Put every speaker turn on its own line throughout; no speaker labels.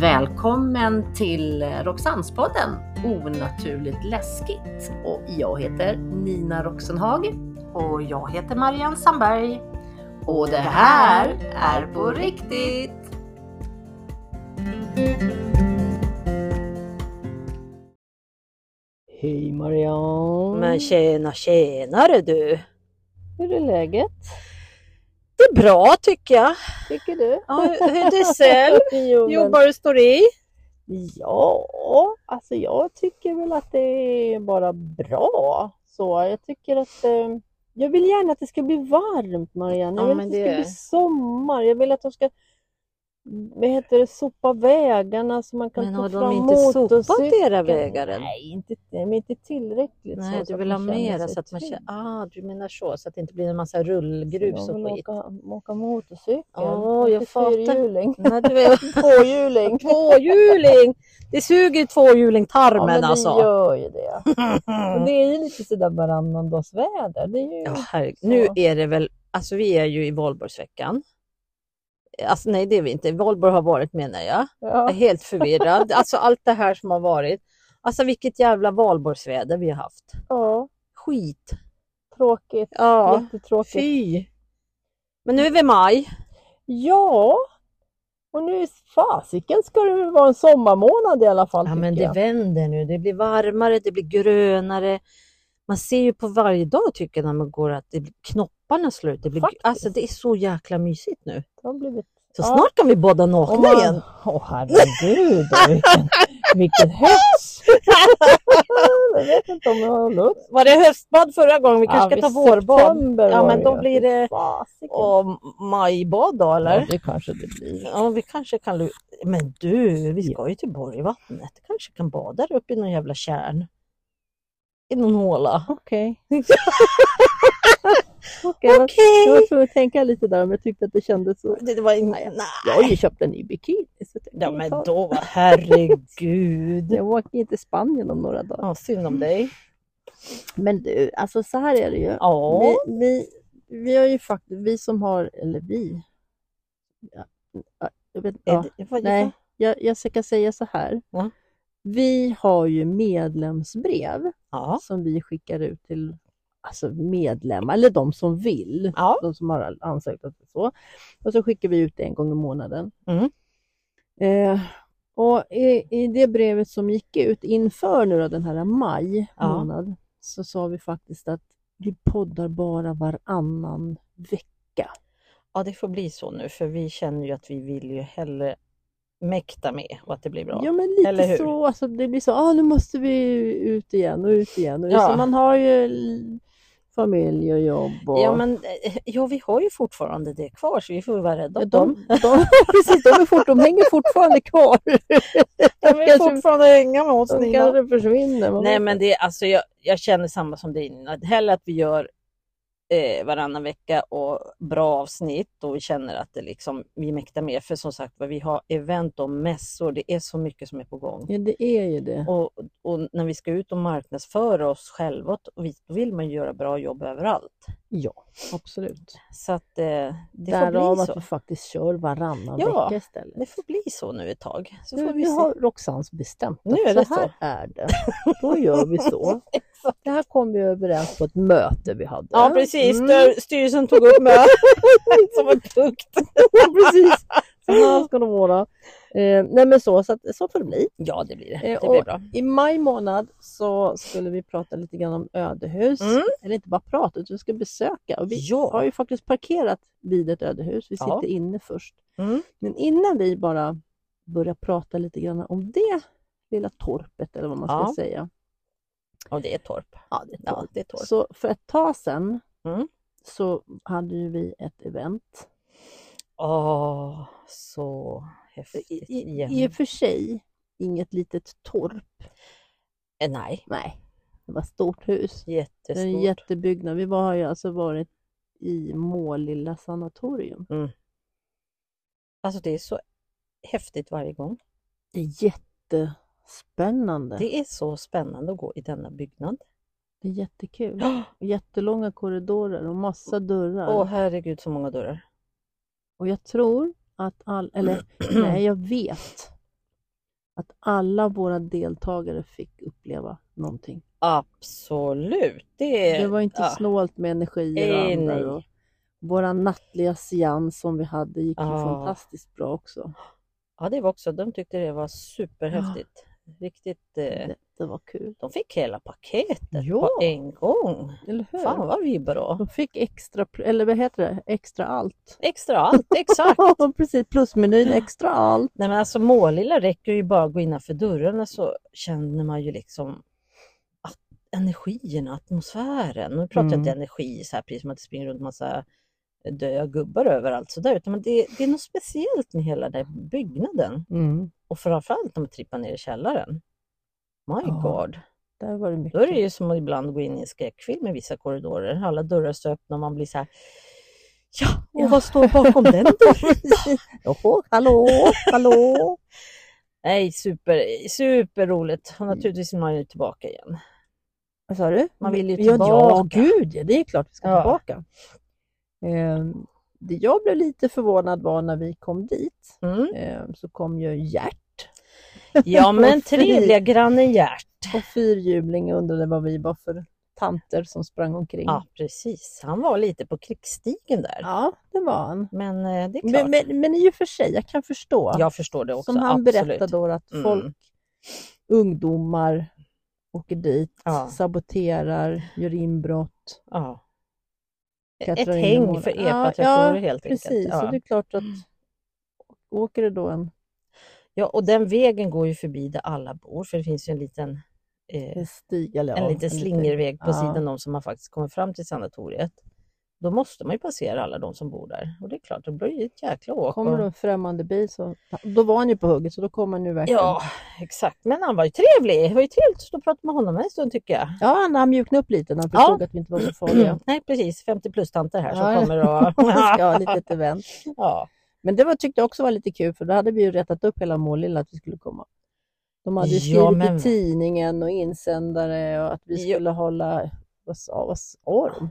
Välkommen till Roxannespodden Onaturligt läskigt. Och jag heter Nina Roxenhag.
Och jag heter Marianne Sandberg.
Och det här är på riktigt! Hej Marianne!
Men tjena tjenare du!
Hur är läget?
Det är bra tycker jag.
Tycker du?
Ja, hur hur är det själv?
jo, men-
Jobbar och står i?
Ja, alltså jag tycker väl att det är bara bra. Så jag tycker att eh, jag vill gärna att det ska bli varmt Marianne. Jag
Ja,
vill
men
att det ska
det-
bli sommar. Jag vill att de ska vad heter det, sopa vägarna så man kan
Men
ta
har de
fram
inte sopat
motorcykeln.
era vägar än?
Nej, inte, nej, men inte tillräckligt.
Nej,
så, så
du
att
vill ha
man känner
mera
sig
så att man
trygg.
känner... Ah, du menar så. Så att det inte blir en massa rullgrus
Jag
och
vill
skit.
åka, åka motorcykel.
Ja, jag
Inte
fattar.
fyrhjuling.
Nej, du är
Tvåhjuling.
tvåhjuling! Det suger ju
Ja,
tvåhjuling-tarmen
men det
alltså. Mm.
gör Mm. ju det. Och det är ju lite sådär varannan dags väder. Det är ju...
Ja, herregud. Nu är det väl, alltså vi är ju i valborgsveckan. Alltså nej, det är vi inte. Valborg har varit menar jag. Jag
Ja.
är helt förvirrad. Alltså allt det här som har varit. Alltså vilket jävla valborgsväder vi har haft.
ja,
Skit.
tråkigt.
Ja,
Jättetråkigt.
fy. Men nu är vi i maj.
Ja, och nu är fasiken ska det väl vara en sommarmånad i alla fall.
Ja,
tycker
men det
jag.
vänder nu. Det blir varmare, det blir grönare. Man ser ju på varje dag tycker jag när man går att det blir, knopparna slår ut. Det blir,
Faktiskt.
alltså det är så jäkla mysigt nu.
Det har blivit...
Så
Ja.
snart kan vi båda nakna
Om man-
igen.
Åh herregud, vilken, vilken hets! jag vet inte om jag har lust.
Var det höstbad förra gången? Vi kanske
Ja,
ska ta
visst,
vårbad?
september
Ja,
var
men då
ju.
blir det
Fasiken.
och majbad då
Ja,
eller?
det kanske det blir.
Ja, vi kanske kan... lu- Men du, vi ska ju till Borgvattnet. Kanske kan bada där uppe i någon jävla tjärn. I någon håla.
Okej. Okej,
Okej!
okay. Jag var tvungen att tänka lite där om jag tyckte att det kändes så.
Det, det var in... Nej.
Jag har ju köpt en ny bikini. Så att jag
Ja,
kan
men
ta-
då, herregud.
Jag åker ju till Spanien om några dagar.
Ja, synd om dig.
Men du, alltså så här är det ju.
Ja.
Vi, vi, vi har ju faktiskt, vi som har, eller vi. Ja, ja, jag, vet,
Är
ja,
det- vad-
nej, jag, jag ska säga så här.
Ja.
Vi har ju medlemsbrev
Ja.
som vi skickar ut till alltså medlemmar, eller de som vill.
Ja.
de som har ansökt och så. Och så skickar vi ut det en gång i månaden.
Mm.
Eh, och i, I det brevet som gick ut inför nu då, den här maj
Ja.
månad så sa vi faktiskt att vi poddar bara varannan vecka.
ja, det får bli så nu för vi känner ju att vi vill ju hellre mäkta med och att det blir bra.
Ja men lite
Eller hur?
så, alltså, det blir så, ah, nu måste vi ut igen och ut igen. Och
Ja.
så man har ju l- familj och jobb. Och...
Ja, men, eh, ja, vi har ju fortfarande det kvar så vi får ju vara rädda
Ja,
om dem.
de, de, precis, de, är fort, de hänger fortfarande kvar.
De vill
kanske-
fortfarande hänga med oss
De
Nina.
kanske försvinner. man
Nej
vet
men det är, alltså jag, jag känner samma som dig Nina. Hellre att vi gör eh, varannan vecka och bra avsnitt och vi känner att det liksom, vi mäktar med. För som sagt vad vi har event och mässor, det är så mycket som är på gång.
Ja, det är ju det.
Och, och när vi ska ut och marknadsföra oss själva, och vi, då vill man ju göra bra jobb överallt.
Ja, absolut.
Så att eh, det får
Därav
bli
att
så.
vi faktiskt kör varannan
Ja,
vecka istället.
Det får bli så nu ett tag. Så
Nu,
får vi
nu
se.
har Roxans bestämt att
Nu är det
så här
så.
är det. Då gör vi så. Det här kom vi överens på ett möte vi hade.
Ja precis,
Mm,
Stör, styrelsen tog upp mig som en punkt.
precis. Så här ska de vara. Eh, nej men så, så, att, så får det bli.
Ja det blir det.
Eh,
Det
och-
blir bra.
I maj månad så skulle vi prata lite grann om ödehus.
Mm.
Eller inte bara prata, utan vi ska besöka. Och vi har
Ja.
ju faktiskt parkerat vid ett ödehus. Vi sitter
Ja.
inne först.
Mm.
Men innan vi bara börjar prata lite grann om det lilla torpet eller vad man ska
Ja.
säga.
Och det är torp.
Ja, det
Ja, det är torp.
Så för ett tag sedan
Mm.
så hade ju vi ett event.
Åh, så häftigt.
I, i,
igen.
i och för sig inget litet torp.
Eh, nej,
Nej, det var ett stort hus. Det är en
jättestort.
jättebyggnad. Vi var, har ju alltså varit i Målilla sanatorium.
Alltså det är så häftigt varje gång.
Det är jättespännande.
Det är så spännande att gå i denna byggnad.
Det är jättekul. Jättelånga korridorer och massa dörrar.
Åh herregud så många dörrar.
Och jag tror att all, eller nej jag vet Att alla våra deltagare fick uppleva någonting.
Absolut. Det,
Det var inte
Eh, ja.
snålt med energier och
Eh, nej.
andra. Och våra nattliga seans som vi hade gick ju
Ja.
fantastiskt bra också.
Ja, det var också. De tyckte det var superhäftigt. Riktigt. Eh,
Det, det var kul.
de fick hela paketet
Ja.
på en gång.
Eller hur?
Fan vad vi är bra.
De fick extra, pr- eller vad heter det, extra allt.
Extra allt, exakt.
Precis, plusmenyn extra allt.
Nej men alltså Målilla räcker ju bara att gå innanför dörrarna så känner man ju liksom att energin, atmosfären. Nu pratar jag
Mm.
inte energi så här precis som att det springer runt massa eh, döda gubbar överallt så där utan men det, det är något speciellt med hela den här byggnaden och framförallt när man trippar ner i källaren. My
Ja.
god.
Där var det mycket.
Då är det ju som att ibland gå in i en skräckfilm i vissa korridorer. Alla dörrar står öppna och man blir så här Ja, och
Ja.
vad står bakom den dörren?
Jaha, hallå, hallå.
Nej, super, superroligt.
Mm.
Och naturligtvis vill man ju tillbaka igen.
Vad sa du?
Man vill ju
Ja,
tillbaka.
gud ja, det är klart vi ska
Ja.
tillbaka. Ehm, det jag blev lite förvånad var när vi kom dit,
Mm.
ehm, så kom ju Gert
Ja, men
Fy.
trevliga grannen Gert.
och fyrhjuling och undrade vad vi var för tanter som sprang omkring.
Ja, precis. Han var lite på krigsstigen där.
Mm. Ja, det var han.
Men eh, det är klart.
Men, men, men i och för sig, jag kan förstå.
jag förstår det också.
Som han
absolut.
berättade då att
Mm.
folk, ungdomar, åker dit,
Ja.
saboterar, gör inbrott.
Ja. Ett
klättrar in i
häng
målen.
för
Ja,
epa-traktorer
ja,
helt
Precis,
enkelt.
så
Ja. Mm.
det är klart att åker det då en
ja, och den vägen går ju förbi där alla bor, för det finns ju en liten eh,
en stig eller ja,
en liten slingerväg på
ja.
sidan om som man faktiskt kommer fram till sanatoriet. Då måste man ju passera alla de som bor där. Och det är klart, då blir det ju ett jäkla åk.
Kommer
och-
det en främmande bil så, då var han ju på hugget så då kommer han ju verkligen.
Ja, exakt. Men han var ju trevlig. Det var ju trevligt att stå och prata med honom en stund tycker jag.
ja han, han mjuknade upp lite när han förstod att vi inte var så farliga.
Nej, precis. 50 plus-tanter här
Mm. Ja, ja.
som kommer och...
Vi ska ha lite ett event.
ja.
Men det var, tyckte jag också var lite kul för då hade vi ju rättat upp hela Målilla att vi skulle komma. De hade ju skrivit
Ja, men-
i tidningen och insändare och att vi
Ja.
skulle hålla, vad sa, vad sa de?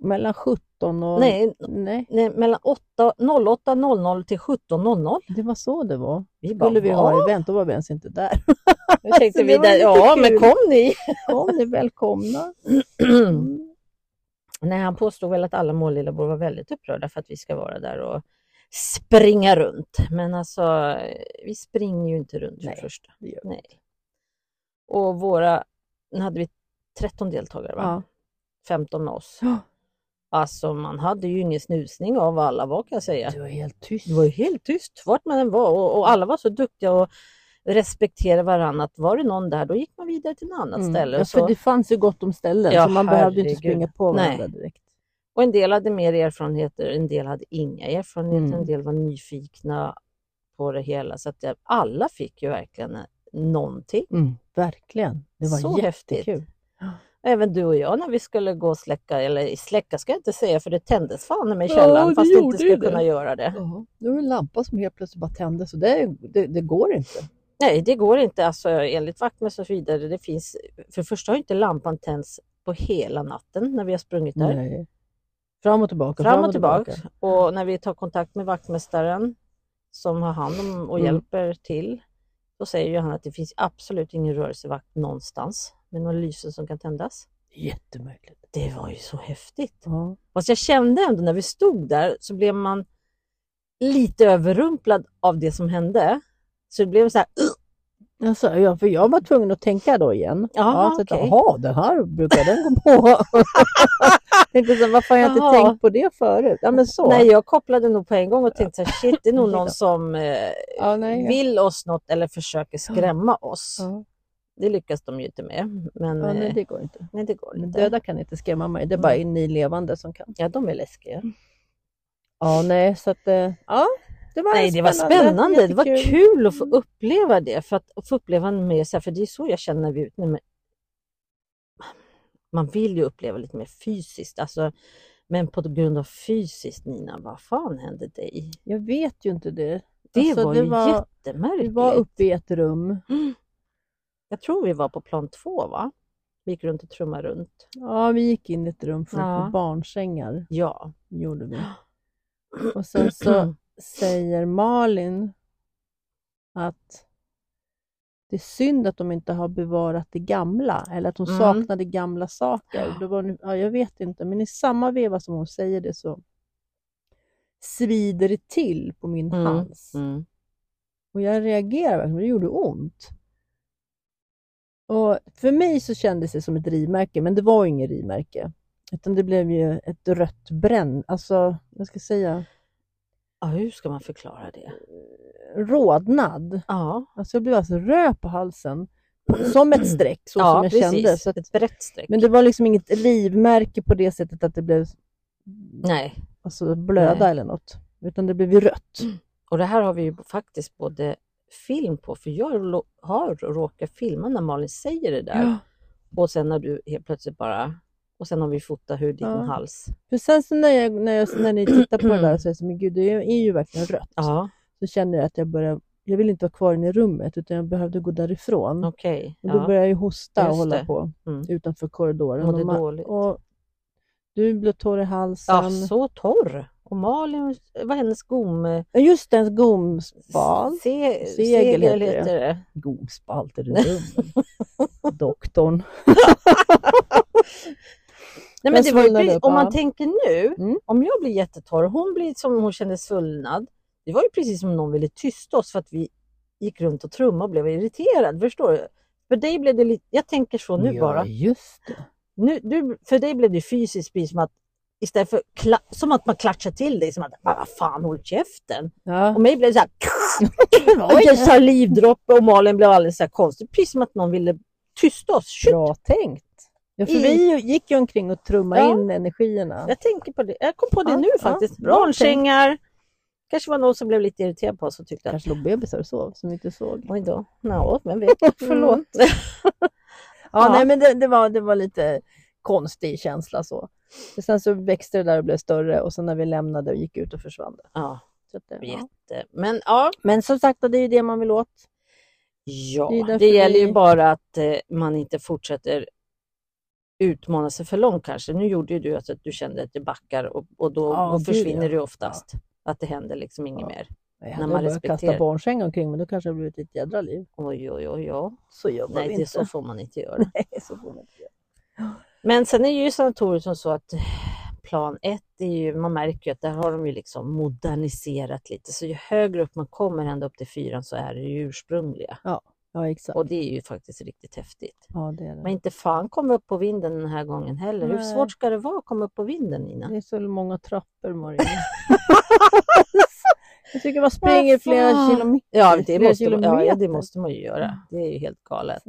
Mellan 17 och...
Nej,
Nej,
nej, mellan 08 08.00 till 17.00.
det var så det var.
Vi bara,
Skulle vi
"Va?"
ha event, då var vi ens inte där.
Då tänkte
Så
vi
det var
där,
lite
ja men
kul."
kom ni!
Kom ni är välkomna. Mm.
Nej, han påstod väl att alla Målillabor var väldigt upprörda för att vi ska vara där och springa runt. Men alltså, eh, vi springer ju inte runt för
Nej,
det första.
det gör vi
Nej. Och våra, nu hade vi 13 deltagare va?
Ja.
15 med oss.
Ja.
Alltså man hade ju ingen snusning av vad alla var kan jag säga.
Du var helt tyst.
Det var ju helt tyst vart man än var och, och alla var så duktiga och respekterade varandra. Att var det någon där då gick man vidare till något annat
Mm.
ställe.
Ja,
Och, så,
för det fanns ju gott om ställen
Ja,
så man behövde ju inte
herregud.
springa på varandra
Nej.
direkt.
och en del hade mer erfarenheter, en del hade inga erfarenheter,
Mm.
en del var nyfikna på det hela. Så att det, alla fick ju verkligen eh, någonting.
Verkligen. Det var
Så häftigt.
jättekul.
Även du och jag när vi skulle gå och släcka, eller släcka ska jag inte säga för det tändes fan i mig i
Ja,
källaren
det
fast du
gjorde
inte skulle
ju det.
kunna göra det.
Ja, det var en lampa som helt plötsligt bara tändes och det, det, det går inte.
Nej, det går inte. Alltså, enligt vaktmästare och så vidare, det finns, för det första har inte lampan tänts på hela natten när vi har sprungit där.
Nej. Fram och tillbaka,
Fram och tillbaka. Och när vi tar kontakt med vaktmästaren som har hand om och
Mm.
hjälper till, då säger ju han att det finns absolut ingen rörelsevakt någonstans med några lysen som kan tändas.
Jättemärkligt.
Det var ju så häftigt.
Ja.
Fast jag kände ändå när vi stod där så blev man lite överrumplad av det som hände. Så det blev så här, "Ugh!"
Alltså, ja, för jag var tvungen att tänka då igen.
Jaha,
så att,
okej.
Jaha, den här brukar den gå på. Tänkte så, här, varför har jag inte
Jaha.
tänkt på det förut? Ja, men så.
nej jag kopplade nog på en gång och tänkte så här, shit det är nog någon som eh,
Ja, nej. ja.
vill oss något eller försöker skrämma oss.
Ja.
Det lyckas de ju inte med. Men
Ja, nej,
eh,
det går inte.
nej, det går
Men
inte.
döda kan inte skrämma mig, det är bara ni levande som kan. Mm.
Ja, de är läskiga.
Ja, nej, så att... eh, Ja, det var
Nej, det var spännande. Det var kul att få
Mm.
uppleva det. För att, att få uppleva mer så här, för det är så jag känner när vi är ute. Men man vill ju uppleva lite mer fysiskt. Alltså, men på grund av fysiskt, Nina, vad fan hände dig?
Jag vet ju inte det.
Det
Alltså,
var
det
ju Mm.
var- Vi
jättemärkligt.
var uppe i ett rum.
Jag tror vi var på plan två, va? Vi gick runt och trummade runt.
Ja, vi gick in i ett rum fullt
Ja.
med barnsängar.
Ja.
Gjorde
Mm.
vi. Och sen så säger Malin att det är synd att de inte har bevarat det gamla eller att hon
Mm.
saknade gamla saker.
Ja.
Då var hon, ja, jag vet inte, men i samma veva som hon säger det så svider det till på min
Mm.
hals.
Mm.
Och jag reagerade verkligen, det gjorde ont. Och för mig så kändes det som ett rivmärke, men det var ju inget rivmärke. Utan det blev ju ett rött bränn, alltså vad ska jag säga,
Ja, hur ska man förklara det?
rodnad.
Ja,
Alltså jag blev alltså röd på halsen, som ett streck så som
ja
jag kände. Så att,
Ett brett streck.
men det var liksom inget rivmärke på det sättet att det blev
Nej,
alltså, blöda
Nej. Mm.
eller något. Utan det blev ju rött.
och det här har vi ju faktiskt både film på, för jag lo- har råkat filma när Malin säger det där. Och sen när du helt plötsligt bara... Och sen har vi fotat hur din
Ja.
hals...
För sen så när, jag, när, jag, när ni tittar på det där så är det som, men gud det är är ju verkligen rött.
Mm. Ja,
så kände jag att jag började, jag ville inte vara kvar inne i rummet utan jag behövde gå därifrån.
okej.
Och då
Ja.
började jag ju hosta och
Just
hålla
det.
på
Mm.
utanför korridoren.
Mådde
och, ma-
dåligt.
och du blev torr i halsen.
Ja, så torr. Och Malin, vad hennes gom...
Ja, Just den gomspal. Segel
Se, segel
heter
heter
det.
det.
Gomspal till rummet. Doktorn.
Nej,
Den
men det var ju,
svullnade
precis-
upp,
om man
ja.
tänker nu,
Mm.
om jag blir jättetorr, hon blir som hon kände svullnad. Det var ju precis som om någon ville tysta oss för att vi gick runt och trummade och blev irriterad. Förstår du? För dig blev det lite, jag tänker så nu
ja,
bara.
just det.
Nu, du, för dig blev det fysiskt precis som att istället för kla, som att man klatschar till dig, som att "Ah, vad fan håll käften.
Ja.
Och mig blev det så här, och det salivdroppe och Malin blev alldeles så här konstig. Precis som att någon ville tysta oss. Shit,
Bra tänkt. Ja, för
I-
vi gick ju omkring och trummade
Ja.
in energierna.
Jag tänker på det. Jag kom på det
Ja,
nu
ja.
faktiskt.
Bra
Barnsängar. kanske var någon som blev lite irriterad på oss och tyckte att
kanske låg bebisar och sov som vi inte såg. Mm.
oj då, no, men vet. Mm. Förlåt.
Ja,
Ja.
Nej, men det, det, var, det var lite konstig känsla så. Men sen så växte det där och blev större och sen när vi lämnade och gick ut och försvann det.
Ja,
Så att det ja.
jätte. Men ja,
Men som sagt, det är ju det man vill åt.
ja.
Det är
Det,
därför
gäller ju
vi-
bara att eh, man inte fortsätter utmana sig för långt kanske. Nu gjorde ju du alltså att du kände att det backar och, och då
Ja,
och
gud,
försvinner
ja.
det oftast. Att det händer liksom inget
Ja.
mer.
Jag
man
hade man börjat kasta
respekterar.
barnsäng omkring men då kanske det hade blivit ett jädra liv.
Oj, oj, oj, oj.
Så gör man
Nej,
inte.
det så får man inte göra.
Nej, så får man inte göra.
Men sen är ju sanatoriet som så att eh, plan ett är ju, man märker ju att där har de ju liksom moderniserat lite. Så ju högre upp man kommer, ända upp till fyran, så är det ju ursprungliga.
Ja, exakt.
Och det är ju faktiskt riktigt häftigt.
Ja, det, är det.
Men inte fan komma upp på vinden den här gången heller. Hur
Nej.
svårt ska det vara att komma upp på vinden Nina?
det är så många trappor, Marie. Jag tycker man springer
Vad
flera
fan.
kilometer.
Ja, det
flera
måste, man- ja, ja, det
kilometer. Mm.
måste man ju göra. Det är ju helt galet.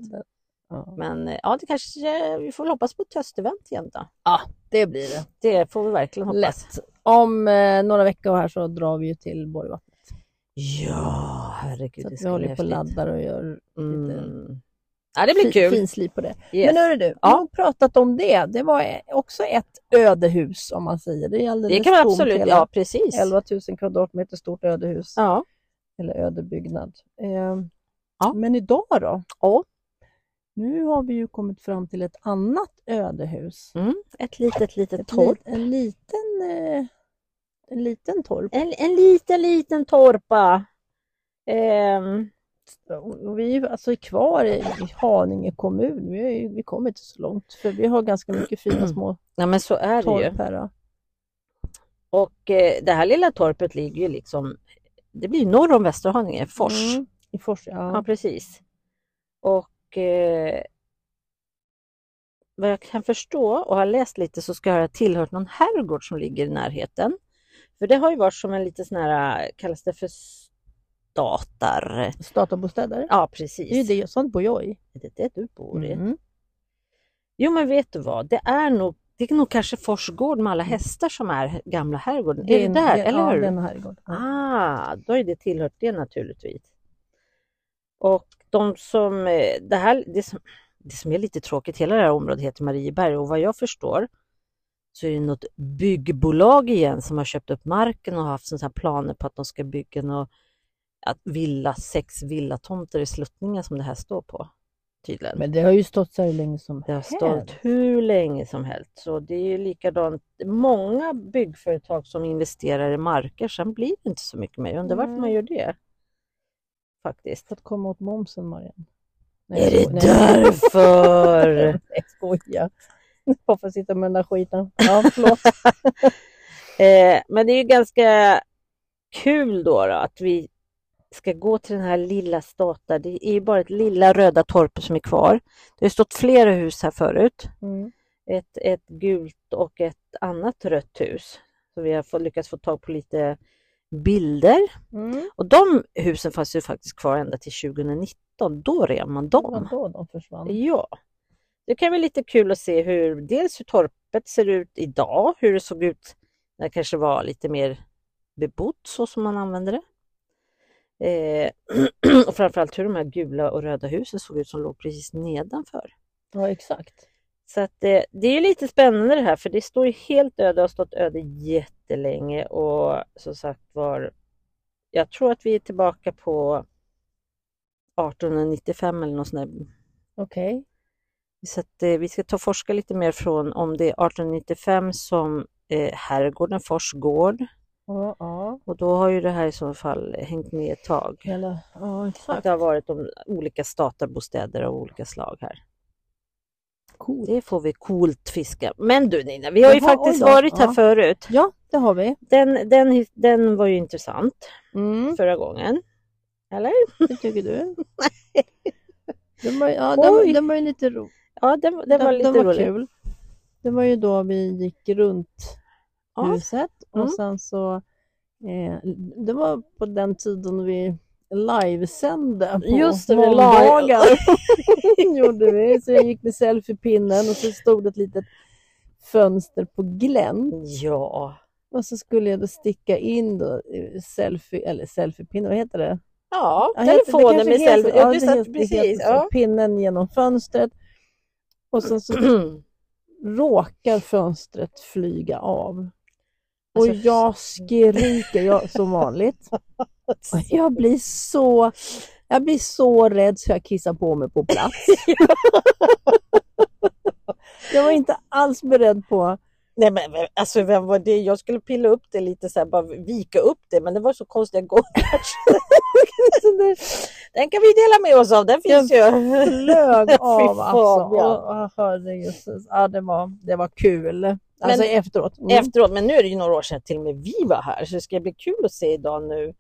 Ja.
Men eh, ja, det kanske, vi får väl hoppas på ett höstevent igen då.
Det blir det.
Det får vi verkligen hoppas.
Lätt. Om eh, några veckor här så drar vi ju till Borgvattnet.
Ja, herregud.
Så att
det
vi
ska
håller
bli
på och
häftigt.
laddar och gör
Mm. Ja, det blir
fi-
kul.
finslip på det.
Yes.
Men nu är du,
Ja.
nog pratat om det. Det var eh, också ett ödehus om man säger. Det är alldeles
Det kan man
tomt,
absolut,
hela
ja precis.
11 000 kvadratmeter stort ödehus
Ja.
eller ödebyggnad. Eh,
Ja.
Men idag då?
Ja.
Nu har vi ju kommit fram till ett annat ödehus.
Mm. Ett litet, litet
Ett
torp.
lit- En liten, eh, en liten torp.
En, en liten, liten torpa. Ehm,
Och vi är ju alltså kvar i i Haninge kommun. Vi, är ju, vi kommer inte så långt för vi har ganska mycket fina små
nej men så är det ju.
torp här. ja.
Och eh, det här lilla torpet ligger ju liksom, det blir norr om Västerhaninge, Fors.
Mm. I Fors, ja.
Ja precis. Och eh, vad jag kan förstå och har läst lite så ska jag ha tillhört någon herrgård som ligger i närheten. För det har ju varit som en liten sån här, eh, kallas det för statar?
Statarbostäder.
Ja
Det är ju
precis.
det, sånt bor jag i.
Det är det du bor i.
Mm.
Jo men vet du vad, det är nog, det är nog kanske Forsgård med alla
Mm.
hästar som är gamla herrgården. är,
en-
det där,
ja,
eller hur?
Ja, den här gården.
Ah, då är det tillhört det naturligtvis. Och de som, eh, det här, det som, det som är lite tråkigt, hela det här området heter Marieberg och vad jag förstår så är det något byggbolag igen som har köpt upp marken och haft sådana här planer på att de ska bygga något, att villa, sex villatomter i sluttningen som det här står på. Tydligen.
Men det har ju stått så här hur länge som
Det har
helst.
stått hur länge som helst. Så det är ju likadant. Många byggföretag som investerar i marker, sen blir det inte så mycket mer. Jag undrar varför
Mm.
man gör det. faktiskt.
För att komma åt momsen, Marianne.
är
jag
det
sko- nej,
därför?
Nej, skoja. Bara för att sitta med den där skiten. Ja, förlåt.
Eh, men det är ju ganska kul då, då att vi ska gå till den här lilla Stata. Det är ju bara ett lilla röda torpet som är kvar. Det har ju stått flera hus här förut.
Mm.
Ett, ett gult och ett annat rött hus. Så vi har fått, lyckats få tag på lite bilder.
Mm.
Och de husen fanns ju faktiskt kvar ända till 2019. Då rev man
Det var
dem.
då de försvann.
Ja. Det kan bli lite kul att se hur dels hur torpet ser ut idag, hur det såg ut när det kanske var lite mer bebott så som man använde det. Eh, och framförallt hur de här gula och röda husen såg ut som låg precis nedanför.
Ja, exakt.
Så att eh, det är lite spännande det här för det står ju helt öde och har stått öde jättelänge och som sagt var Jag tror att vi är tillbaka på 1895 eller något sånt där.
Okej.
Så att, eh, vi ska ta och forska lite mer från om det är 1895 som eh, herrgården Fors gård
Ja, ja.
och då har ju det här i så fall hängt med ett tag.
Eller, ja,
Att
exakt.
det har varit om olika statarbostäder av olika slag här.
Coolt.
Det får vi coolt fiska. Men du Nina, vi har ju
Jaha,
faktiskt
oj då.
varit här
Ja.
förut.
Ja, det har vi.
Den, den, his- den var ju intressant
Mm.
förra gången. Eller?
Det tycker du? Den var, ja, den,
Oj.
var- den var ju lite rolig.
Ja, den, den var lite
den var
rolig.
kul. Det var ju då vi gick runt
Ja.
huset och
Mm.
sen så eh, det var på den tiden vi livesände på
Just det, vi
måndagar. gjorde vi. Så jag gick med selfiepinnen och så stod det ett litet fönster på glänt
ja.
och så skulle jag då sticka in då, eh, selfie, eller selfiepinnen, vad heter det?
Ja,
Ja, helt- det
telefonen
kanske
med
heter-
selfie.
ja,
Ja, du
det
satt
heter- det heter
precis.
så.
Ja.
Pinnen genom fönstret och sen så råkar fönstret flyga av. Och
Alltså,
jag skriker jag, som vanligt. Och Jag blir, så, jag blir så rädd så jag kissar på mig på plats. Jag var inte alls beredd på...
Nej men men, alltså vem var det? Jag skulle pilla upp det lite så här, bara vika upp det men det var så konstiga gångar. Så det- den kan vi dela med oss av, den finns ju.
Flög av
fan,
alltså.
ja.
Och, och, herregud. ja, det, var, det var kul. Alltså
Men-
efteråt. Mm.
Efteråt, men nu är det ju några år sedan till och med vi var här så det ska bli kul att se idag nu.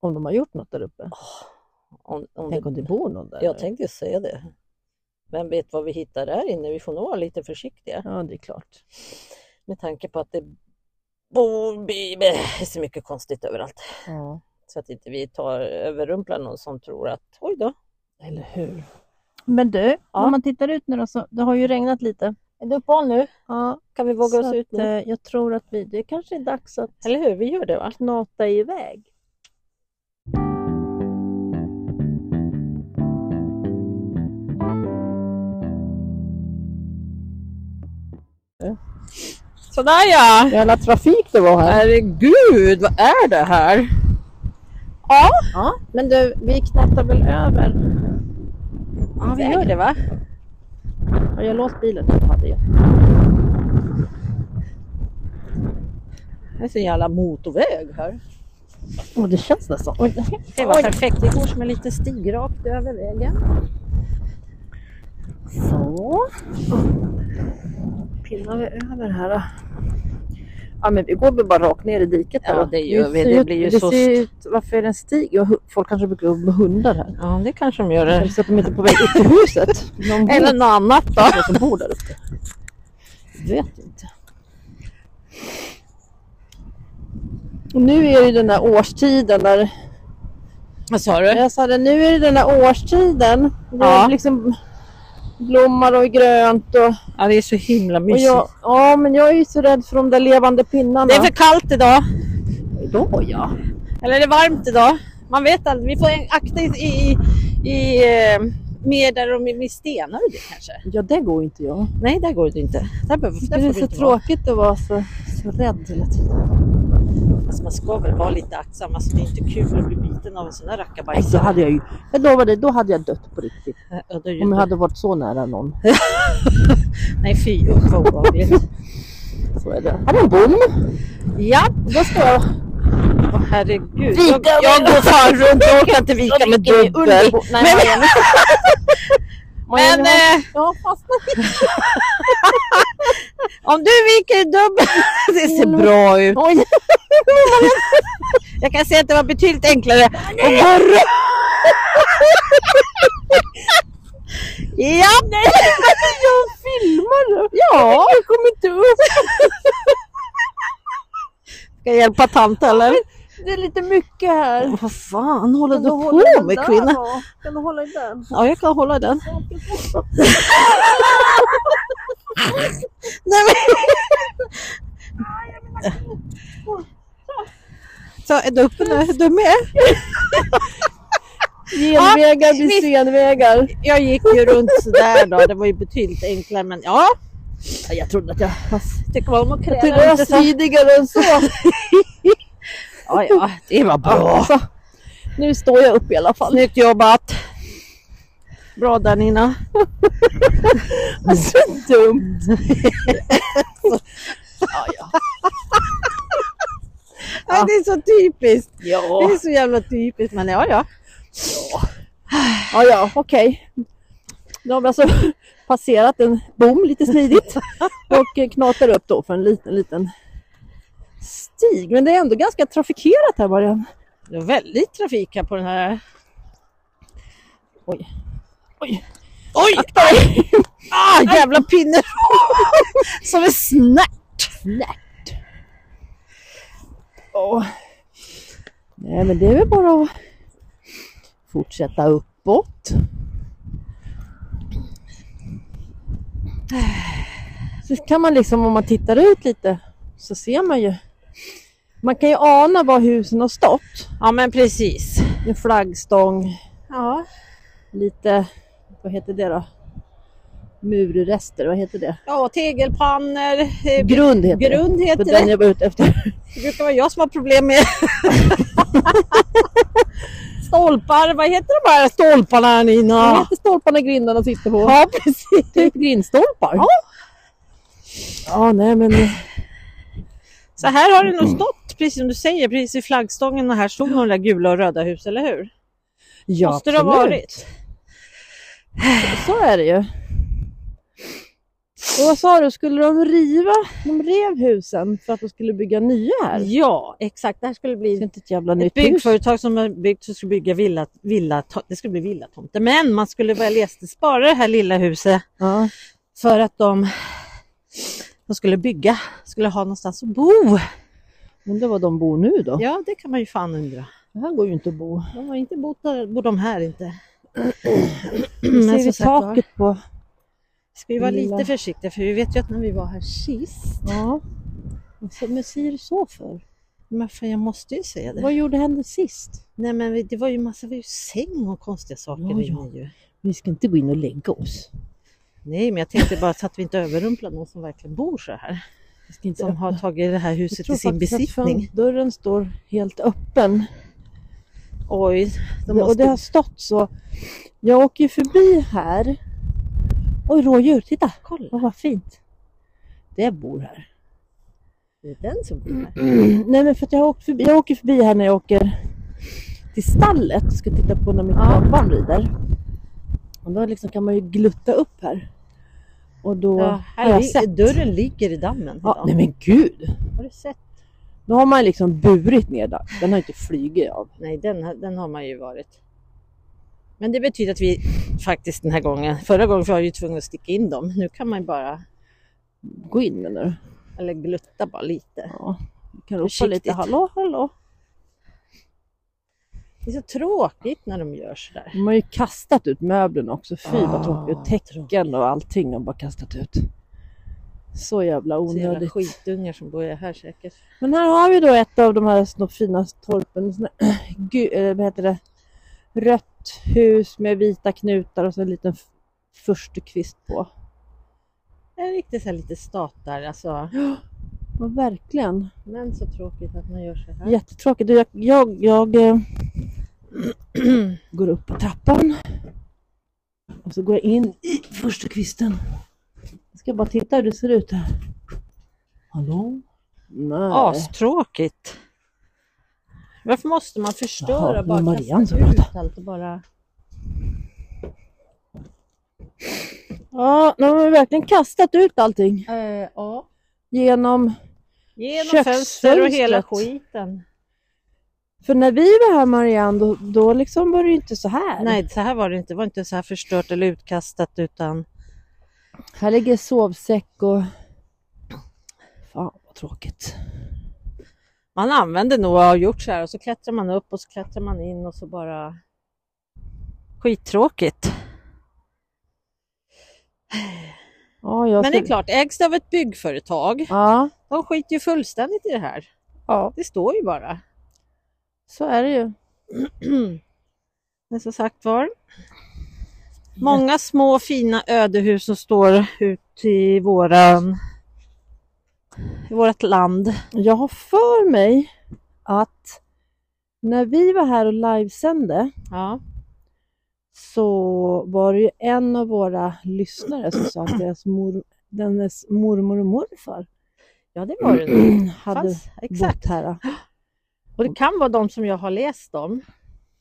Om de har gjort något där uppe.
Om, om
Tänk om det bor någon där. nu.
Jag tänkte säga det. Vem vet vad vi hittar där inne? Vi får nog vara lite försiktiga
Ja, det är klart.
med tanke på att det bor bi- är så mycket konstigt överallt.
Ja.
Så att inte vi tar överrumplar någon som tror att oj då.
Eller hur? Men du, om man tittar ut nu då, så det har ju regnat lite.
Är det uppehåll nu?
Ja,
Kan vi våga
så
oss ut
att,
nu?
eh, Jag tror att vi, det kanske är dags att
eh, Eller hur, vi gör det va?
knata iväg.
Sådär ja!
Jävla trafik det var
Herregud, vad är det här?
Ja, men du, vi knatar väl över.
Ja, vi gör det va?
Har jag låst bilen? Ja, det är
Det är så jävla motorväg här.
oh, det känns nästan. Oj,
Det var perfekt, det går som en liten stig rakt över vägen.
Så. Pillar vi över här då. Ja, men vi går väl bara rakt ner i diket. här
Ja,
då.
det gör vi.
ser
Det
ut-
blir ju
det
så-
Ser ut, varför är det en stig? Ja, hu- Folk kanske brukar gå med hundar här.
Ja, det kanske de gör. Det.
Så att de inte är på väg upp till huset. Någon bor,
Eller något annat då.
någon som bor där uppe. Vet inte. Och nu är det den här årstiden där...
Vad sa du?
Jag sa det, nu är det den här årstiden. Det är
Ja.
liksom blommar och grönt och...
Ja, det är så himla
och
mysigt.
jag, ja, men jag är ju så rädd för de där levande pinnarna.
Det är för kallt idag.
Då ja.
Eller är det varmt idag? Man vet aldrig. Vi får akta i, i, i eh, mer där de är med stenar och det kanske.
Ja, det går inte jag.
Nej, där går det inte. Där behöver,
Det
där
är
får du
så
inte vara.
tråkigt att vara så, så rädd hela tiden.
Alltså, man ska väl vara lite aktsam. Alltså, det är inte kul att bli biten av en sån där
Nej,
rackabajs. Äh,
då hade jag ju... Jag lovar dig, då hade jag dött på riktigt.
Ja, då är det
Alltså, Om
ju-
jag hade varit så nära någon.
Nej, fy usch vad obehagligt.
Så är det. Här är en bom.
ja,
Då ska jag
Åh, herregud.
Vika
Jag, jag
med-
går fan runt, jag orkar inte vika med dubbel.
Underbo- Nej,
Men-
Marianne.
Men
Marianne,
eh,
jag har fastnat
om du viker i dubbel, det ser
Mm.
bra ut.
Oj,
Jag kan säga att det var betydligt enklare att gå runt. Ja,
filmar du?
ja.
Jag kommer inte upp.
Ska jag hjälpa tant eller?
Det är lite mycket här.
Vad fan håller
Kan
du
hålla
på
den
med
där
kvinna?
då? Kan du hålla i den?
Ja, jag kan hålla den. Nej, men... Så är du uppe nu? Är du med?
Genvägar blir
vi-
senvägar.
Jag gick ju runt sådär då. Det var ju betydligt enklare men ja. Ja, Jag trodde att jag tycker om att
Det
kräla
går
lite så.
smidigare än så.
Ja, ja, det var bra.
Alltså, nu står jag upp i alla fall.
Snyggt jobbat. Bra där Nina.
Alltså dumt. ja, ja.
Ja, det är så typiskt. Det
Ja,
är så jävla typiskt men ja ja.
ja, ja okej. Nu har vi alltså passerat en bom lite smidigt och eh, knatar upp då för en liten, liten stig. Men det är ändå ganska trafikerat här Marianne.
Det var väldigt trafik här på den här.
Oj.
Oj! Oj! Aj! Ah, jävla pinne! Som en snärt!
Snärt. Åh. Nej, men det är väl bara att fortsätta uppåt. Så kan man liksom, om man tittar ut lite, så ser man ju. Man kan ju ana var husen har stått.
Ja men precis.
En flaggstång,
Ja.
lite, vad heter det då? Murrester, vad heter det?
Ja, tegelpannor. eh,
Grund heter det.
Grund
Det
heter
var den
det.
jag var ute efter.
Det brukar vara jag som har problem med. Stolpar, vad heter de här stolparna
Vad
Nina?
heter stolparna grindarna sitter på?
Ja precis.
Typ grindstolpar? Ja. Ja, nej men
Så här har det nog stått, precis som du säger, precis i flaggstången och här stod nog de där gula och röda hus, eller hur?
ja,
Måste det ha
absolut.
varit.
Så är det ju. Och vad sa du, skulle de riva? De rev husen för att de skulle bygga nya här. Det
Ja, exakt. Det här skulle
är
bli
inte ett jävla
ett
nytt hus.
byggföretag som har byggt så skulle bygga villa, villa, det skulle bli villatomter. Men man skulle välja att spara det här lilla huset
Ja.
för att de, de skulle bygga, skulle ha någonstans att bo.
Undrar var de bor nu då?
Ja, det kan man ju fan undra.
Det här går ju inte att bo.
De har inte bott där, bor de här inte.
Nu
Men
ser vi
som sagt var,
taket på.
Ska vi vara
Lilla.
lite försiktiga för vi vet ju att när vi var här sist,
Ja. Alltså, men säger du så för?
men fan jag måste ju säga det.
Vad gjorde hände sist?
Nej men vi- det var ju massa, det var ju säng och konstiga saker
Ja,
inne
ja.
ju.
Vi ska inte gå in och lägga oss.
Nej men jag tänkte bara så att vi inte överrumplar någon som verkligen bor så här.
Vi ska inte
Som har tagit det här
Jag
huset
tror
i sin
faktiskt att
besittning.
fön- Dörren står helt öppen.
Oj, de
Och det har
måste...
stått så. Jag åker ju förbi här. Oj, rådjur. Titta!
Kolla,
Åh, vad fint. Det bor här.
det är den som
Mm.
bor här.
Nej, men för att jag, har åkt förbi, jag åker förbi här när jag åker till stallet och ska titta på när mitt
Ja.
barnbarn rider. Och då liksom kan man ju glutta upp här. Och då
Ja,
har
här
jag
ligger,
sett.
dörren ligger i dammen
Ja,
idag.
nej men gud!
Har du sett?
Då har man liksom burit ner den. Den har inte flugit av.
Nej, den, har- den har man ju varit. Men det betyder att vi faktiskt den här gången, förra gången var jag ju tvungen att sticka in dem. Nu kan man ju bara,
Gå in med nu.
eller glutta bara lite.
Ja. Du kan ropa
Försiktigt.
lite hallå, hallå.
Det är så tråkigt när de gör sådär.
De har ju kastat ut möblerna också. Fy vad
Ah,
tråkigt. Och täcken och allting de har bara kastat ut. Så jävla
Så jävla
onödigt.
skitungar som bor här säkert.
Men här har vi då ett av de här så fina torpen. sån här, gu- eh, vad heter det? Rött hus med vita knutar och så en liten f- furstukvist på.
Det är riktigt så här lite statar alltså.
Ja, verkligen.
Men så tråkigt att man gör så här.
Jättetråkigt. Du, Jag, jag, jag eh, går upp på trappan. Och så går jag in i furstukvisten. Jag ska bara titta hur det ser ut här. Hallå? Nej.
Astråkigt. Varför måste man förstöra?
Jaha,
bara
det var Marianne
kasta
som
ut allt och bara...
Ja, nu har vi verkligen kastat ut allting
Eh, ja.
genom...
Genom fönster och hela
Köksfönstret.
skiten.
För när vi var här Marianne, då, då liksom var det ju inte så här.
Nej, så här var det inte. Det var inte så här förstört eller utkastat utan...
Här ligger sovsäck och... Fan vad tråkigt.
Man använder nog och har gjort så här och så klättrar man upp och så klättrar man in och så bara... Skittråkigt.
Ja, jag
Men det
skulle-
är klart, ägs det av ett byggföretag,
Ja,
de skiter ju fullständigt i det här.
ja,
Det står ju bara.
så är det ju.
Men som sagt var, många små fina ödehus som står ute i våran... I vårt land.
Jag har för mig att när vi var här och livesände
Ja.
så var det ju en av våra lyssnare som sa att deras mor, dennes mormor och morfar
ja, det var det nog.
hade
Fanns, Exakt.
bott här.
Och det kan vara de som jag har läst om.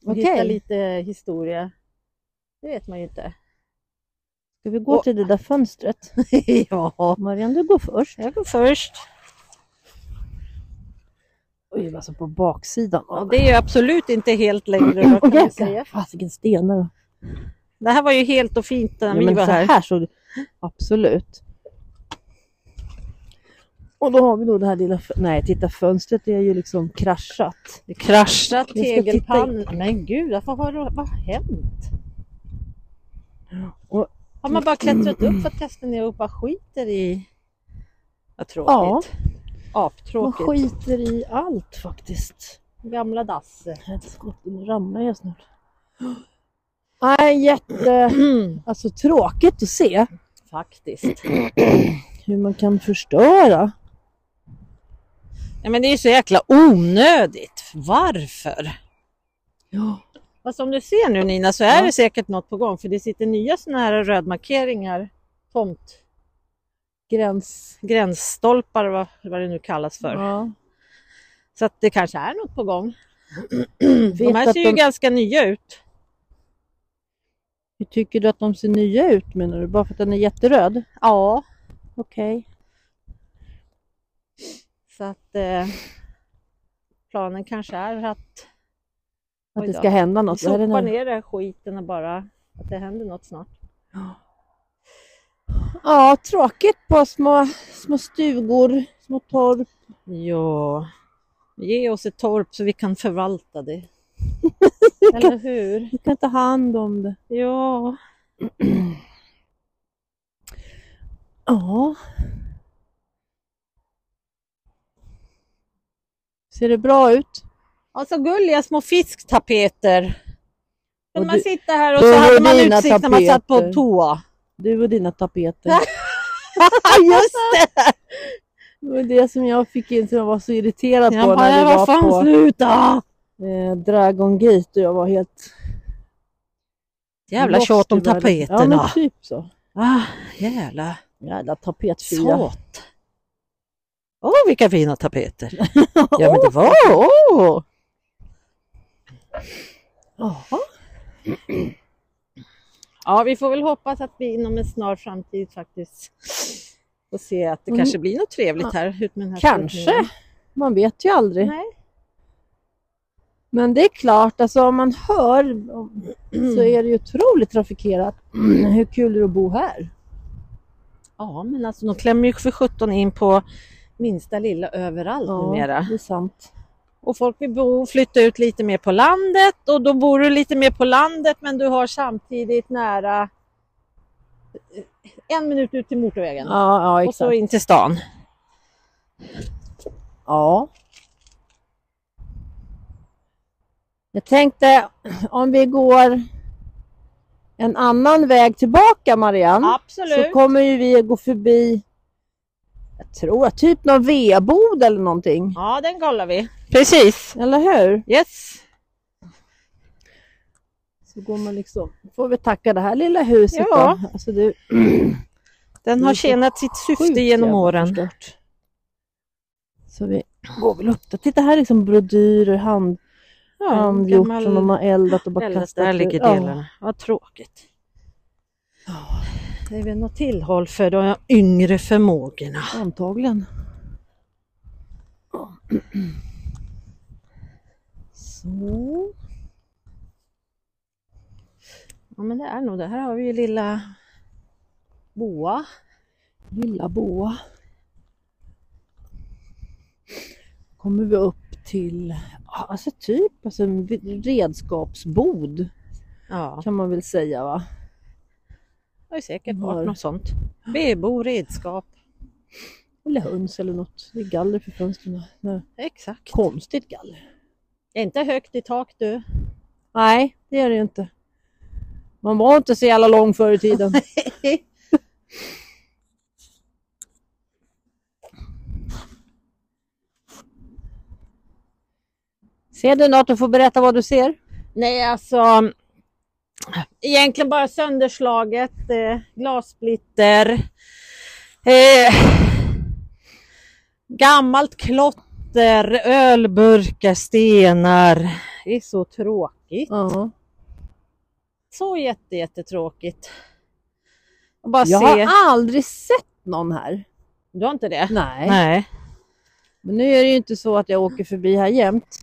Och
Okej.
hitta lite historia. Det vet man ju inte.
Ska vi gå
Och-
till det där fönstret?
ja,
Marianne, du går först.
jag går först.
Oj, alltså på baksidan.
Och det är ju absolut inte helt längre. Vad kan
Okej,
man säga?
fasiken stenar. då.
Det här var ju helt och fint när
Ja,
vi
men
var
så
här.
här såg det Absolut. Och då har vi då det här lilla... fö- Nej, titta fönstret är ju liksom kraschat.
Det kraschat
Jag ska
tegelpannor. Men gud, varför har det, vad har hänt?
Och-
Har man bara klättrat upp för att kasta ner och bara skiter i... Vad tråkigt.
Man
Aptråkigt.
skiter i allt faktiskt.
Gamla dass.
Skotten ramlar jag snart. Nej, jätte...
Mm.
Alltså tråkigt att se
Faktiskt.
hur man kan förstöra.
Ja, men det är ju så jäkla onödigt. Varför?
Ja.
Fast som du ser nu Nina så är
Ja.
det säkert något på gång för det sitter nya sådana här rödmarkeringar, tomt,
Gräns...
gränsstolpar vad, vad det nu kallas för.
Ja.
Så att det kanske är något på gång.
Vet
De här
att
ser ju
de-
ganska nya ut.
Hur tycker du att de ser nya ut menar du? Bara för att den är jätteröd?
Ja.
Okej.
Så att eh, planen kanske är att,
Att
Oj
det
då.
ska hända något. Det här är
sopa
när-
ner den här skiten och bara att det händer något snart.
Ja, tråkigt på små, små stugor, små torp.
Ja, ge oss ett torp så vi kan förvalta det. Eller hur?
Vi kan ta hand om det.
Ja.
Ja. Ser det bra ut?
Och så gulliga små fisktapeter.
Och
Kunde man
du-
sitta här och
då
så
är
hade man
dina
utsikt när man satt på
tapeter.
toa.
Du och dina tapeter.
Just det!
Det var det som jag fick in som jag var så irriterad på
Jag
när
bara,
vi
vad
var
fan
på
sluta!
eh, Dragon Gate och jag var helt...
Jävla
lost
tjat om
i världen.
tapeterna.
Ja, men typ så.
ah, jävla
Jävla tapetfia.
sat. Åh, vilka fina tapeter! ja, men det var... Åh!
Jaha.
Ja, vi får väl hoppas att vi inom en snar framtid faktiskt får se att det
Mm.
kanske blir något trevligt här. Ut med den här
Kanske.
skyltningen.
Man vet ju aldrig.
Nej.
Men det är klart, alltså om man hör om- så är det ju otroligt trafikerat. Hur kul är det att bo här?
Ja, men alltså de klämmer ju för 17 in på minsta lilla överallt numera.
det är sant.
Och folk vill bo, flytta ut lite mer på landet och då bor du lite mer på landet men du har samtidigt nära eh, en minut ut till motorvägen
Ja, ja
och så
exakt.
in till stan.
Ja. Jag tänkte om vi går en annan väg tillbaka
Mm.
Marianne. Så
Absolut!
kommer ju vi att gå förbi, jag tror att typ någon vedbod eller någonting.
Ja, den kollar vi. Precis!
Eller hur?
Yes!
Så går man liksom, får vi tacka det här lilla huset
Ja.
då. Alltså det,
Den
Det
har
är så
tjänat sitt
Sjukt
syfte genom
jävla
åren.
förstört. Så vi går väl upp där. Titta här är liksom brodyrer, hand,
Ja, en
handgjort
gammal typ.
som de har eldat och bara
Eller
kastat.
där ligger
Ja.
delarna. Vad tråkigt. Ja, det är väl något tillhåll för de yngre förmågorna.
Antagligen.
Så. Ja men det är nog det. Här har vi ju lilla Boa.
Lilla boa. Kommer vi upp till, ja, alltså typ alltså en v- redskapsbod
Ja,
kan man väl säga va?
det har ju säkert
Var.
varit något sånt. Bebo, redskap.
Eller höns eller något. Det är galler för fönstren. Nej.
Exakt.
Konstigt galler.
Det är inte högt i tak du.
Nej, det är det ju inte. Man var inte så jävla lång förr i tiden. Ser du något och får berätta vad du ser?
Nej, alltså egentligen bara sönderslaget, eh, glassplitter, eh, gammalt klotter, ölburkar, stenar. Det är så tråkigt.
Ja.
Så jätte, jättetråkigt. Och bara
Jag
se.
har aldrig sett någon här.
Du har inte det?
Nej.
Nej.
Men nu är det ju inte så att jag åker förbi här jämt.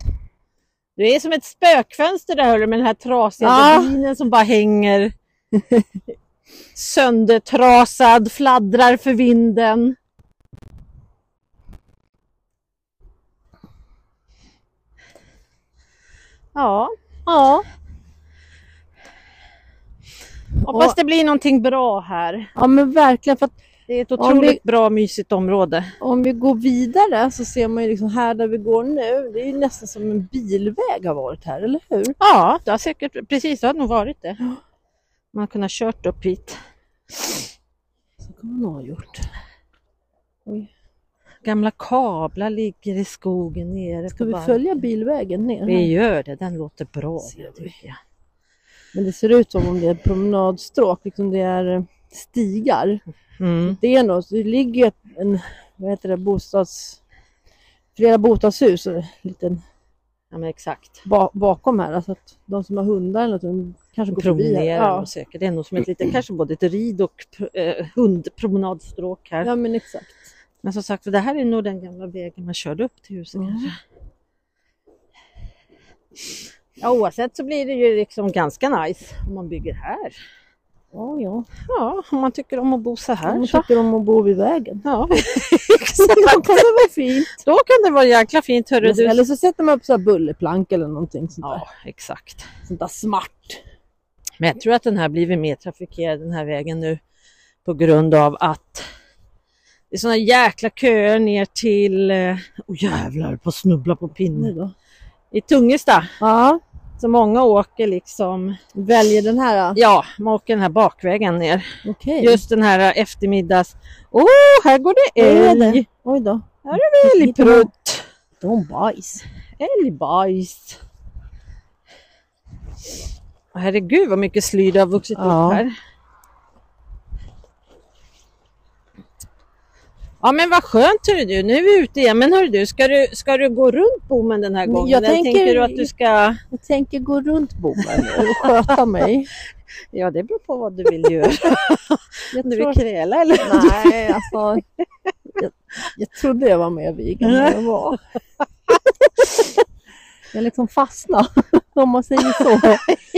Du är som ett spökfönster där hör du med den här trasiga
Ja.
gardinen som bara hänger söndertrasad, fladdrar för vinden. Ja,
Ja.
hoppas
Och-
det blir någonting bra här.
Ja men verkligen för att
Det är ett
vi-
otroligt bra mysigt område.
om vi går vidare så ser man ju liksom här där vi går nu. Det är ju nästan som en bilväg har varit här, eller hur?
Ja, det har säkert precis det har nog varit det. Man har kunnat kört upp hit.
Så kan man nog ha gjort.
Gamla kablar ligger i skogen nere
Ska
på
vi
barken.
följa bilvägen ner?
Vi
här?
gör det, den låter bra.
Ser vi.
tycker jag.
Men det ser ut som om det är promenadstråk, liksom det är eh, stigar.
Mm.
Det är något, det ligger ju ett- en, vad heter det, bostads... Flera bostadshus och en liten
Ja, men exakt.
ba, bakom här. Alltså att de som har hundar eller något, de kanske går förbi här.
Promenerar
Ja.
och söker. Det är nog som ett litet, kanske både ett rid och pr- eh, hundpromenadstråk här.
ja, men exakt.
Men som sagt, det här är nog den gamla vägen man körde upp till huset
Ja.
kanske. Ja, oavsett så blir det ju liksom ganska nice om man bygger här.
Ja, ja.
Ja, om man tycker om att bo så här.
Hon
så.
tycker om att bo vid vägen.
Ja,
Då
exakt.
kan det vara fint.
Då kan det vara jäkla fint. Hörru, du.
Eller så sätter man upp så här bullerplank eller någonting sånt där.
Ja, exakt.
Sånt där smart.
Men jag tror att den här blivit mer trafikerad den här vägen nu på grund av att det är såna jäkla köer ner till, eh, oh jävlar på att snubbla på
Nu
pinnen,
då.
i Tungesta.
Ja,
Så många åker liksom,
väljer den här.
ja, man åker den här bakvägen ner.
Okej.
Just den här eh, eftermiddags, åh här går det
Vad är det?
älg,
Oj då.
älgprutt,
De bajs.
älgbajs. Åh, Herregud vad mycket sly det har vuxit
Ja.
upp här. Ja men vad skönt hörru du, nu är vi ute igen. Men hörru du, ska du, ska du gå runt bommen den här
Men
gången?
jag
Eller
tänker-
tänker du att du ska...
Jag tänker gå runt bommen och sköta mig.
Ja det beror på vad du vill göra.
Jag
Om du
tror-
vill kräla eller?
Nej, alltså. Jag, jag trodde jag var mer vegan än vad jag var. Jag liksom fastnade, om man säger så.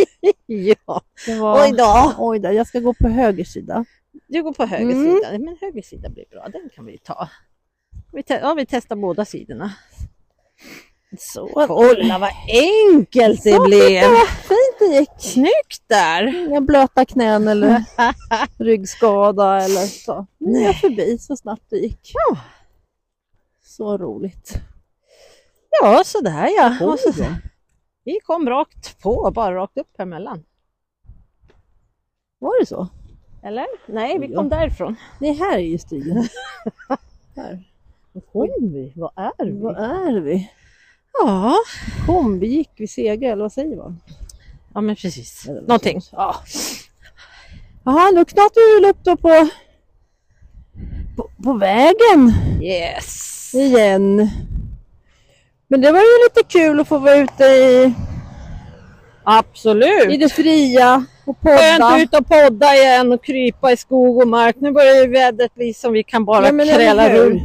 Ja.
Det var,
Oj då.
Oj då, jag ska gå på höger sida.
Du går på höger
Mm.
sida. Men höger sida blir bra, den kan vi ta. Vi te- ja vi testar båda sidorna.
Så,
Kolla vad enkelt det
Så,
blev!
titta vad fint det gick!
Snyggt där!
Inga blöta knän eller ryggskada eller så. Nu är jag förbi så snabbt det gick.
Ja.
Så roligt.
Ja sådär ja. Och så,
Oj då.
vi kom rakt på, bara rakt upp här mellan.
Var det så?
Eller? Nej, vi
Ja.
kom därifrån.
Nej, här är ju stigen. här.
kom vi? Vad är
Var är vi?
Ja,
Kom, vi gick, vi segrade eller vad säger man?
ja men precis.
Eller något
Någonting.
sånt. Ja. Jaha, nu knatar vi väl upp då på, på, på vägen
Yes!
igen. Men det var ju lite kul att få vara ute i, i
Absolut!
det fria och podda.
Skönt ut och podda igen och krypa i skog och mark. Nu börjar ju vädret bli som vi kan bara
Ja, men eller
kräla
hur?
runt.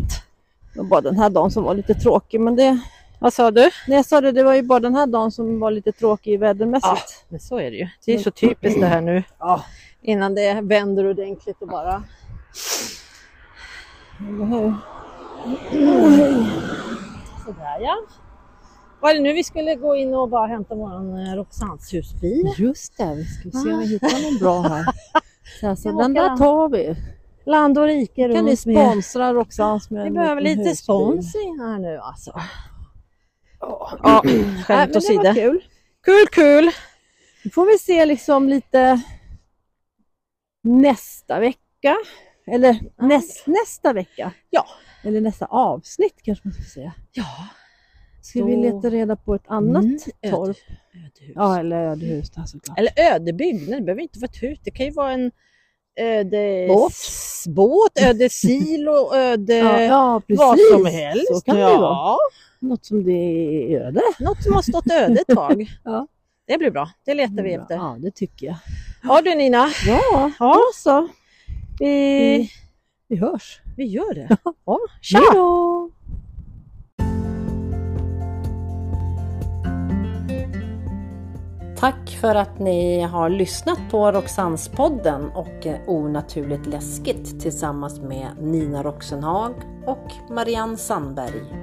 Det var bara den här dagen som var lite tråkig. Men det,
Vad sa du?
när jag sa det, det var ju bara den här dagen som var lite tråkig vädermässigt.
Men så är det ju. Det är så typiskt det här nu.
Ja.
Innan det vänder ordentligt och bara...
Eller hur?
Sådär ja. Var det nu vi skulle gå in och bara hämta våran eh, Roxans husbil?
Just det, vi ska se om
Ah.
vi hittar någon bra här. Så alltså,
Kan
den
åka.
där tar vi.
Land och rike
Kan ni
runt med.
sponsra Roxans med
Vi
en
behöver
liten
lite
husbil?
sponsring här nu alltså. Äh,
Ja, Nej, men
Skämt
det
åsido.
var kul.
Kul kul!
Nu får vi se liksom lite nästa vecka. Eller näst, nästa vecka.
Ja.
Eller nästa avsnitt kanske man ska säga.
Ja.
Ska vi leta reda på ett annat
Mm,
torp?
Ödehus.
Ja, eller ödehus där såklart.
Eller ödebygd, men det behöver inte vara ett hus. Det kan ju vara en ödes...
Båt.
båt ödesilo, öde...
Ja, ja, precis.
Eh, Vad som helst.
Så kan
ja.
det ju vara. Något som det är öde.
Något som har stått öde ett tag.
Ja.
Det blir bra. Det letar vi efter.
Ja, det tycker jag.
Ja du Nina,
Ja,
Ja.
då så.
vi,
Vi hörs.
vi gör det. Ja. Tja!
Hej då!
Tack för att ni har lyssnat på Roxannespodden och Onaturligt läskigt tillsammans med Nina Roxenhag och Marianne Sandberg.